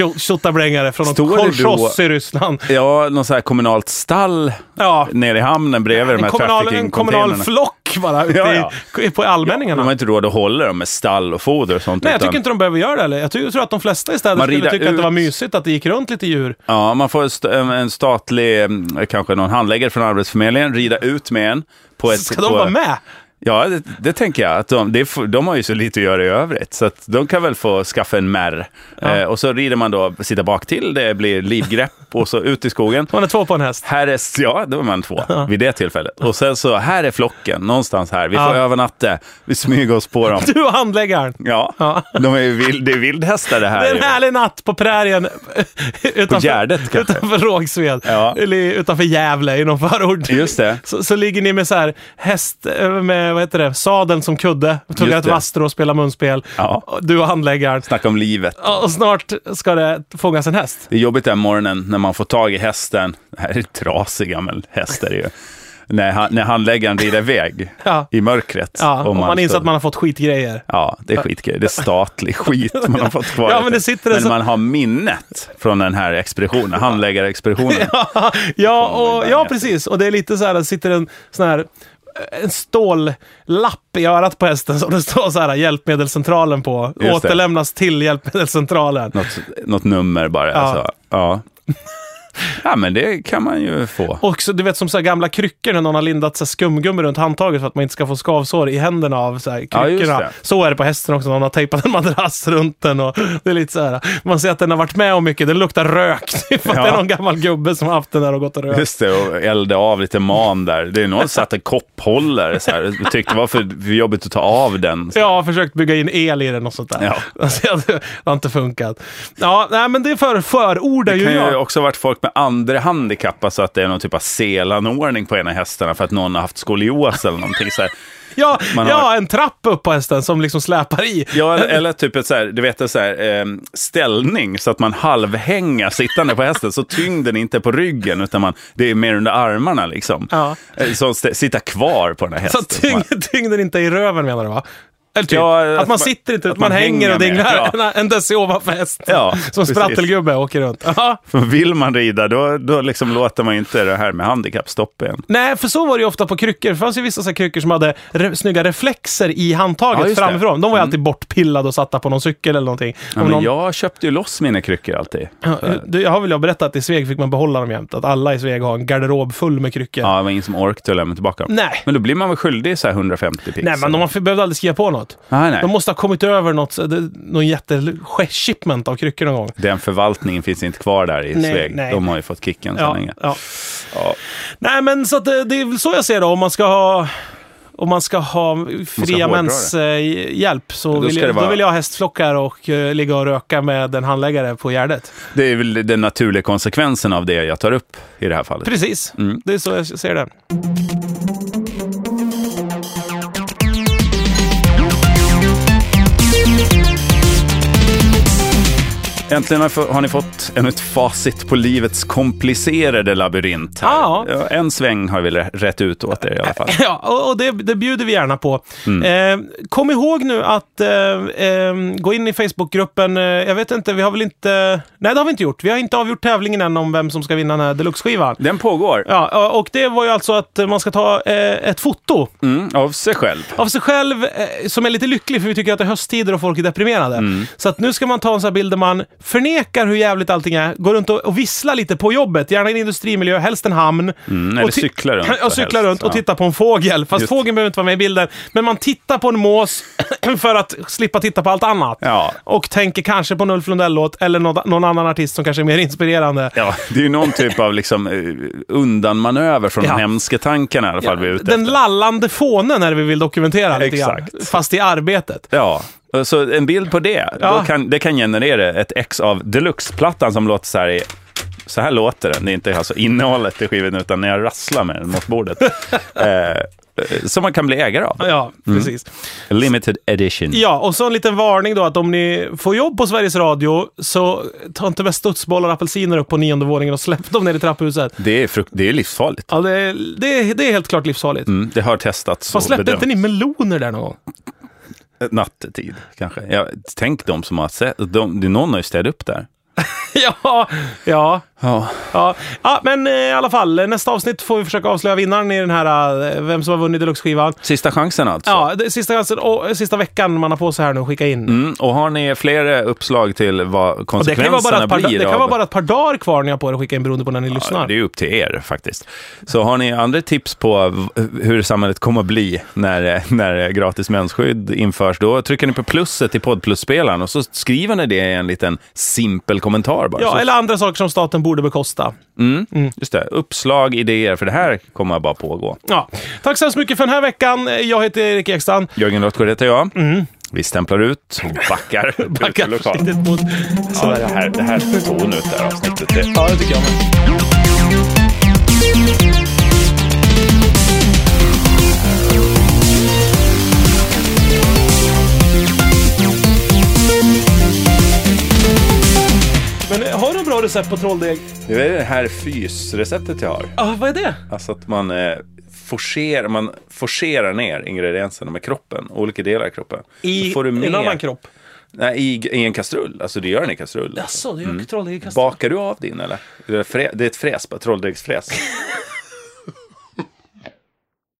A: arbetstjottablängare från någon
B: Står det då-
A: kolchoss i Ryssland.
B: Ja, någon sån här kommunalt stall
A: Ja,
B: nere i hamnen bredvid de
A: en
B: här
A: kommunal, en kommunal
B: trafficking-containrarna.
A: flock bara ute
B: Ja,
A: I, på
B: De
A: allmänningarna.
B: har inte råd att hålla dem med stall och foder och sånt.
A: Nej, jag
B: utan-
A: tycker inte de behöver göra det heller. Jag ty- tror att de flesta i städer
B: Man
A: skulle
B: rider
A: tycka att det
B: ut.
A: var mysigt att det gick runt lite djur.
B: Ja, man får st- en- en statlig, mm, kanske någon handläggare från Arbetsförmedlingen, rida ut med en. På ett,
A: Ska de
B: på,
A: vara med?
B: Ja, det, det tänker jag. Att de, det får- de har ju så lite att göra i övrigt, så att de kan väl få skaffa en märr. Eh, och så rider man då, sitter bak till, det blir livgrepp och så ut i skogen.
A: Man är två på en häst.
B: Här är, ja, då var man två vid det tillfället. Och sen så, här är flocken, någonstans här. Vi får
A: Ja.
B: övernatta, vi smyger oss på dem.
A: Du och handläggaren.
B: Ja,
A: Ja.
B: de är ju vild, det är vildhästar det här.
A: Det alltså. är en
B: ju.
A: härlig natt på prärien. utanför,
B: Gärdet kanske.
A: Utanför Rågsved.
B: Ja.
A: Eller utanför Gävle i någon förort.
B: Just det.
A: Så, så ligger ni med så här häst, eh, med vad heter det, sadeln som kudde. Tuggar
B: Just
A: ett
B: det.
A: vaster och spelar munspel.
B: Ja.
A: Och Du och handläggaren.
B: Snacka om livet.
A: Ja, Och snart ska det fångas en häst.
B: Det är jobbigt den morgonen när man får tag i hästen. Det här är en trasig gammal häst är det ju. När, han, när handläggaren rider iväg
A: Ja.
B: i mörkret.
A: Ja,
B: Och
A: och man inser
B: står-
A: att man har fått skitgrejer.
B: Ja, det är skitgrej. Det är statlig skit man har fått kvar.
A: Ja, men det sitter en
B: men
A: sån-
B: man har minnet från den här expeditionen, handläggarexpeditionen.
A: Ja,
B: kommer man
A: och,
B: ju
A: ja
B: banga
A: precis. Och det är lite så här, det sitter en sån här eh, en stållapp i örat på hästen som det står så här hjälpmedelscentralen på.
B: det.
A: Återlämnas till hjälpmedelscentralen.
B: Något, något nummer bara. Ja. Alltså. Ja. ja, men det kan man ju få.
A: Och så, du vet som så här gamla kryckor när någon har lindat så här skumgummi runt handtaget för att man inte ska få skavsår i händerna av så här
B: Ja, just
A: kryckorna.
B: det.
A: så är det på hästen också. Någon har tejpat en madrass runt den och det är lite så här. Man ser att den har varit med om mycket. Den luktar rök. för att
B: Ja.
A: det är någon gammal gubbe som har haft den där och gått och rökt.
B: Just det, och elda av lite man där. Det är någon som satte kopphållare så här. och Tyckte det var för, för jobbigt att ta av den.
A: Ja, jag har försökt bygga in el i den och sånt där.
B: Ja.
A: Alltså, det har inte funkat. Ja, nej, men det är för, förordar
B: Det
A: ju
B: kan ju
A: jag.
B: också ha varit folk med andra handikapp, alltså att det är någon typ av selanordning på ena hästarna för att någon har haft skolios eller någonting. Så här.
A: Ja,
B: man
A: ja
B: har-
A: en trapp upp på hästen som liksom släpar i.
B: Ja, eller, eller typ ett så här, du vet, en så här, ehm, ställning så att man halvhängar sittande på hästen så tyngden inte är på ryggen utan man, det är mer under armarna liksom.
A: Ja.
B: Eh, Så st- sitta kvar på den här
A: Så
B: hästen.
A: att tyng, tyngden inte är i röven menar du va? Eller typ,
B: Ja,
A: att,
B: att
A: man
B: man-
A: sitter inte,
B: att
A: man,
B: man
A: hänger och
B: hänger med,
A: dinglar
B: ja.
A: en, en deci ovanför hästen.
B: Ja,
A: som
B: precis.
A: sprattelgubbe åker runt. Ja.
B: För vill man rida då, då liksom låter man ju inte det här med handikapp stoppa en.
A: Nej, för så var det ju ofta på kryckor. Det fanns ju vissa så här kryckor som hade re- snygga reflexer i
B: Ja,
A: handtaget
B: just det. Mm.
A: framifrån. De var ju alltid bortpillade och satta på någon cykel eller någonting.
B: Ja,
A: Om
B: men
A: någon-
B: Jag köpte ju loss mina kryckor alltid.
A: Ja, du, jag har väl jag berättat att i Sveg fick man behålla dem jämt. Att alla i Sveg har en garderob full med kryckor.
B: Ja, det var ingen som orkade lämna tillbaka dem.
A: Nej.
B: Men då blir man väl skyldig så här 150 pix?
A: Nej, men de har- behövde aldrig skriva på något.
B: Nej, nej.
A: De måste ha kommit över något, så- det- någon jätteshipment av kryckor någon gång.
B: Den förvaltningen finns inte kvar där i
A: Nej,
B: Sveg.
A: nej.
B: De har ju fått kicken så
A: Ja,
B: länge.
A: ja.
B: Ja.
A: Nej, men så att, eh, det, det är väl så jag ser det. Om man ska ha, om man ska ha fria
B: hårdra
A: mäns eh, hjälp så
B: Då
A: vill,
B: ska
A: jag,
B: det vara-
A: då vill jag ha hästflockar och eh, ligga och röka med en handläggare på Gärdet.
B: Det är väl den naturliga konsekvensen av det jag tar upp i det här fallet.
A: Precis, Mm. det är så jag ser det.
B: Äntligen har f- har ni fått ännu ett facit på livets komplicerade labyrint. Här.
A: Ja.
B: Ja, En sväng har vi rä- rätt ut åt er i alla fall.
A: Ja, och, och det, det bjuder vi gärna på. Eh, kom ihåg nu att eh, eh, gå in i Facebookgruppen. Eh, jag vet inte, vi har väl inte... Nej, det har vi inte gjort. Vi har inte avgjort tävlingen än om vem som ska vinna den här deluxe-skivan.
B: Den pågår
A: Ja, och det var ju alltså att man ska ta eh, ett foto
B: mm, av sig själv.
A: av sig själv eh, som är lite lycklig för vi tycker att det är hösttider och folk är deprimerade.
B: Mm.
A: Så att nu ska man ta en sån här bild där man förnekar hur jävligt allting är, går runt och, och visslar lite på jobbet, gärna i en industrimiljö, helst en hamn.
B: Mm, eller
A: Och ti-
B: cyklar runt
A: Ja,
B: helst,
A: cyklar runt och
B: ja.
A: tittar på en fågel. Fast
B: Just.
A: fågeln behöver inte vara med i bilden. Men man tittar på en mås för att slippa titta på allt annat.
B: Ja.
A: Och tänker kanske på en Ulf Lundell-låt eller någon, någon annan artist som kanske är mer inspirerande.
B: Ja, det är ju någon typ av liksom, eh, undanmanöver från
A: Ja.
B: de hemska tankarna i alla fall. vi är ute
A: Den
B: efter.
A: lallande fånen är det vi vill dokumentera lite grann.
B: Exakt.
A: Fast i arbetet.
B: Ja, så en bild på det,
A: Ja.
B: då kan, det kan generera ett ex av deluxe-plattan som låter så här. I, så här låter den. Det är inte alltså innehållet i skivan, utan när jag rasslar med den mot bordet. eh, eh, som man kan bli ägare av.
A: Ja, precis.
B: Limited edition.
A: Ja, och så en liten varning då att om ni får jobb på Sveriges Radio så ta inte med studsbollar och apelsiner upp på nionde våningen och släpp dem ner i trapphuset.
B: Det, är frukt, det är livsfarligt.
A: Ja, det, det, det är helt klart livsfarligt.
B: Mm, det har testats
A: Vad släppte
B: bedömts.
A: inte ni meloner där någon gång?
B: Nattetid, kanske. Ja, tänk de som har sett. De, någon har ju städat upp där.
A: ja, ja,
B: Ja.
A: ja. ja, men eh, i alla fall. Nästa avsnitt får vi försöka avslöja vinnaren i den här, eh, vem som har vunnit deluxe-skivan.
B: Sista chansen alltså.
A: Ja, det, sista, chansen- och, eh, sista veckan man har på sig här nu att skicka in.
B: Mm, och har ni fler uppslag till
A: Och
B: vad
A: det kan, ju
B: konsekvenserna
A: vara bara ett par,
B: blir
A: det kan
B: av...
A: vara bara ett par dagar kvar när jag på er att skicka in beroende på när ni lyssnar.
B: Det är ju upp till er faktiskt. Så har ni andra tips på v- hur samhället kommer att bli när, eh, när gratis mensskydd införs, då trycker ni på plusset i poddplusspelaren och så skriver ni det i en liten simpel kommentar bara.
A: Ja,
B: så,
A: eller andra saker som staten borde bekosta.
B: just det, uppslag, idéer, för det här kommer bara pågå.
A: Ja. Tack så hemskt mycket för den här veckan. Jag heter Erik Ekstrand.
B: Jörgen Rotgård heter jag. Vi stämplar ut och backar. ut ur
A: Backar
B: lokalen.
A: försiktigt mot...
B: Ja, det här, det här tog hon ut det här avsnittet. Det-
A: Ja, det tycker jag med. Men har du bra recept på trolldeg?
B: Nu är det det här fysreceptet jag har.
A: Ja, vad är det?
B: Alltså att man, eh, forcerar, man forcerar ner ingredienserna med kroppen, olika delar i kroppen. Då
A: I
B: får du med-
A: en annan kropp?
B: Nej, i, i en kastrull. Alltså du gör den i kastrull.
A: Jaså, du gör trolldeg i kassan?
B: Bakar du av din eller? Det är frä- det är ett fräs, bara trolldegsfräs.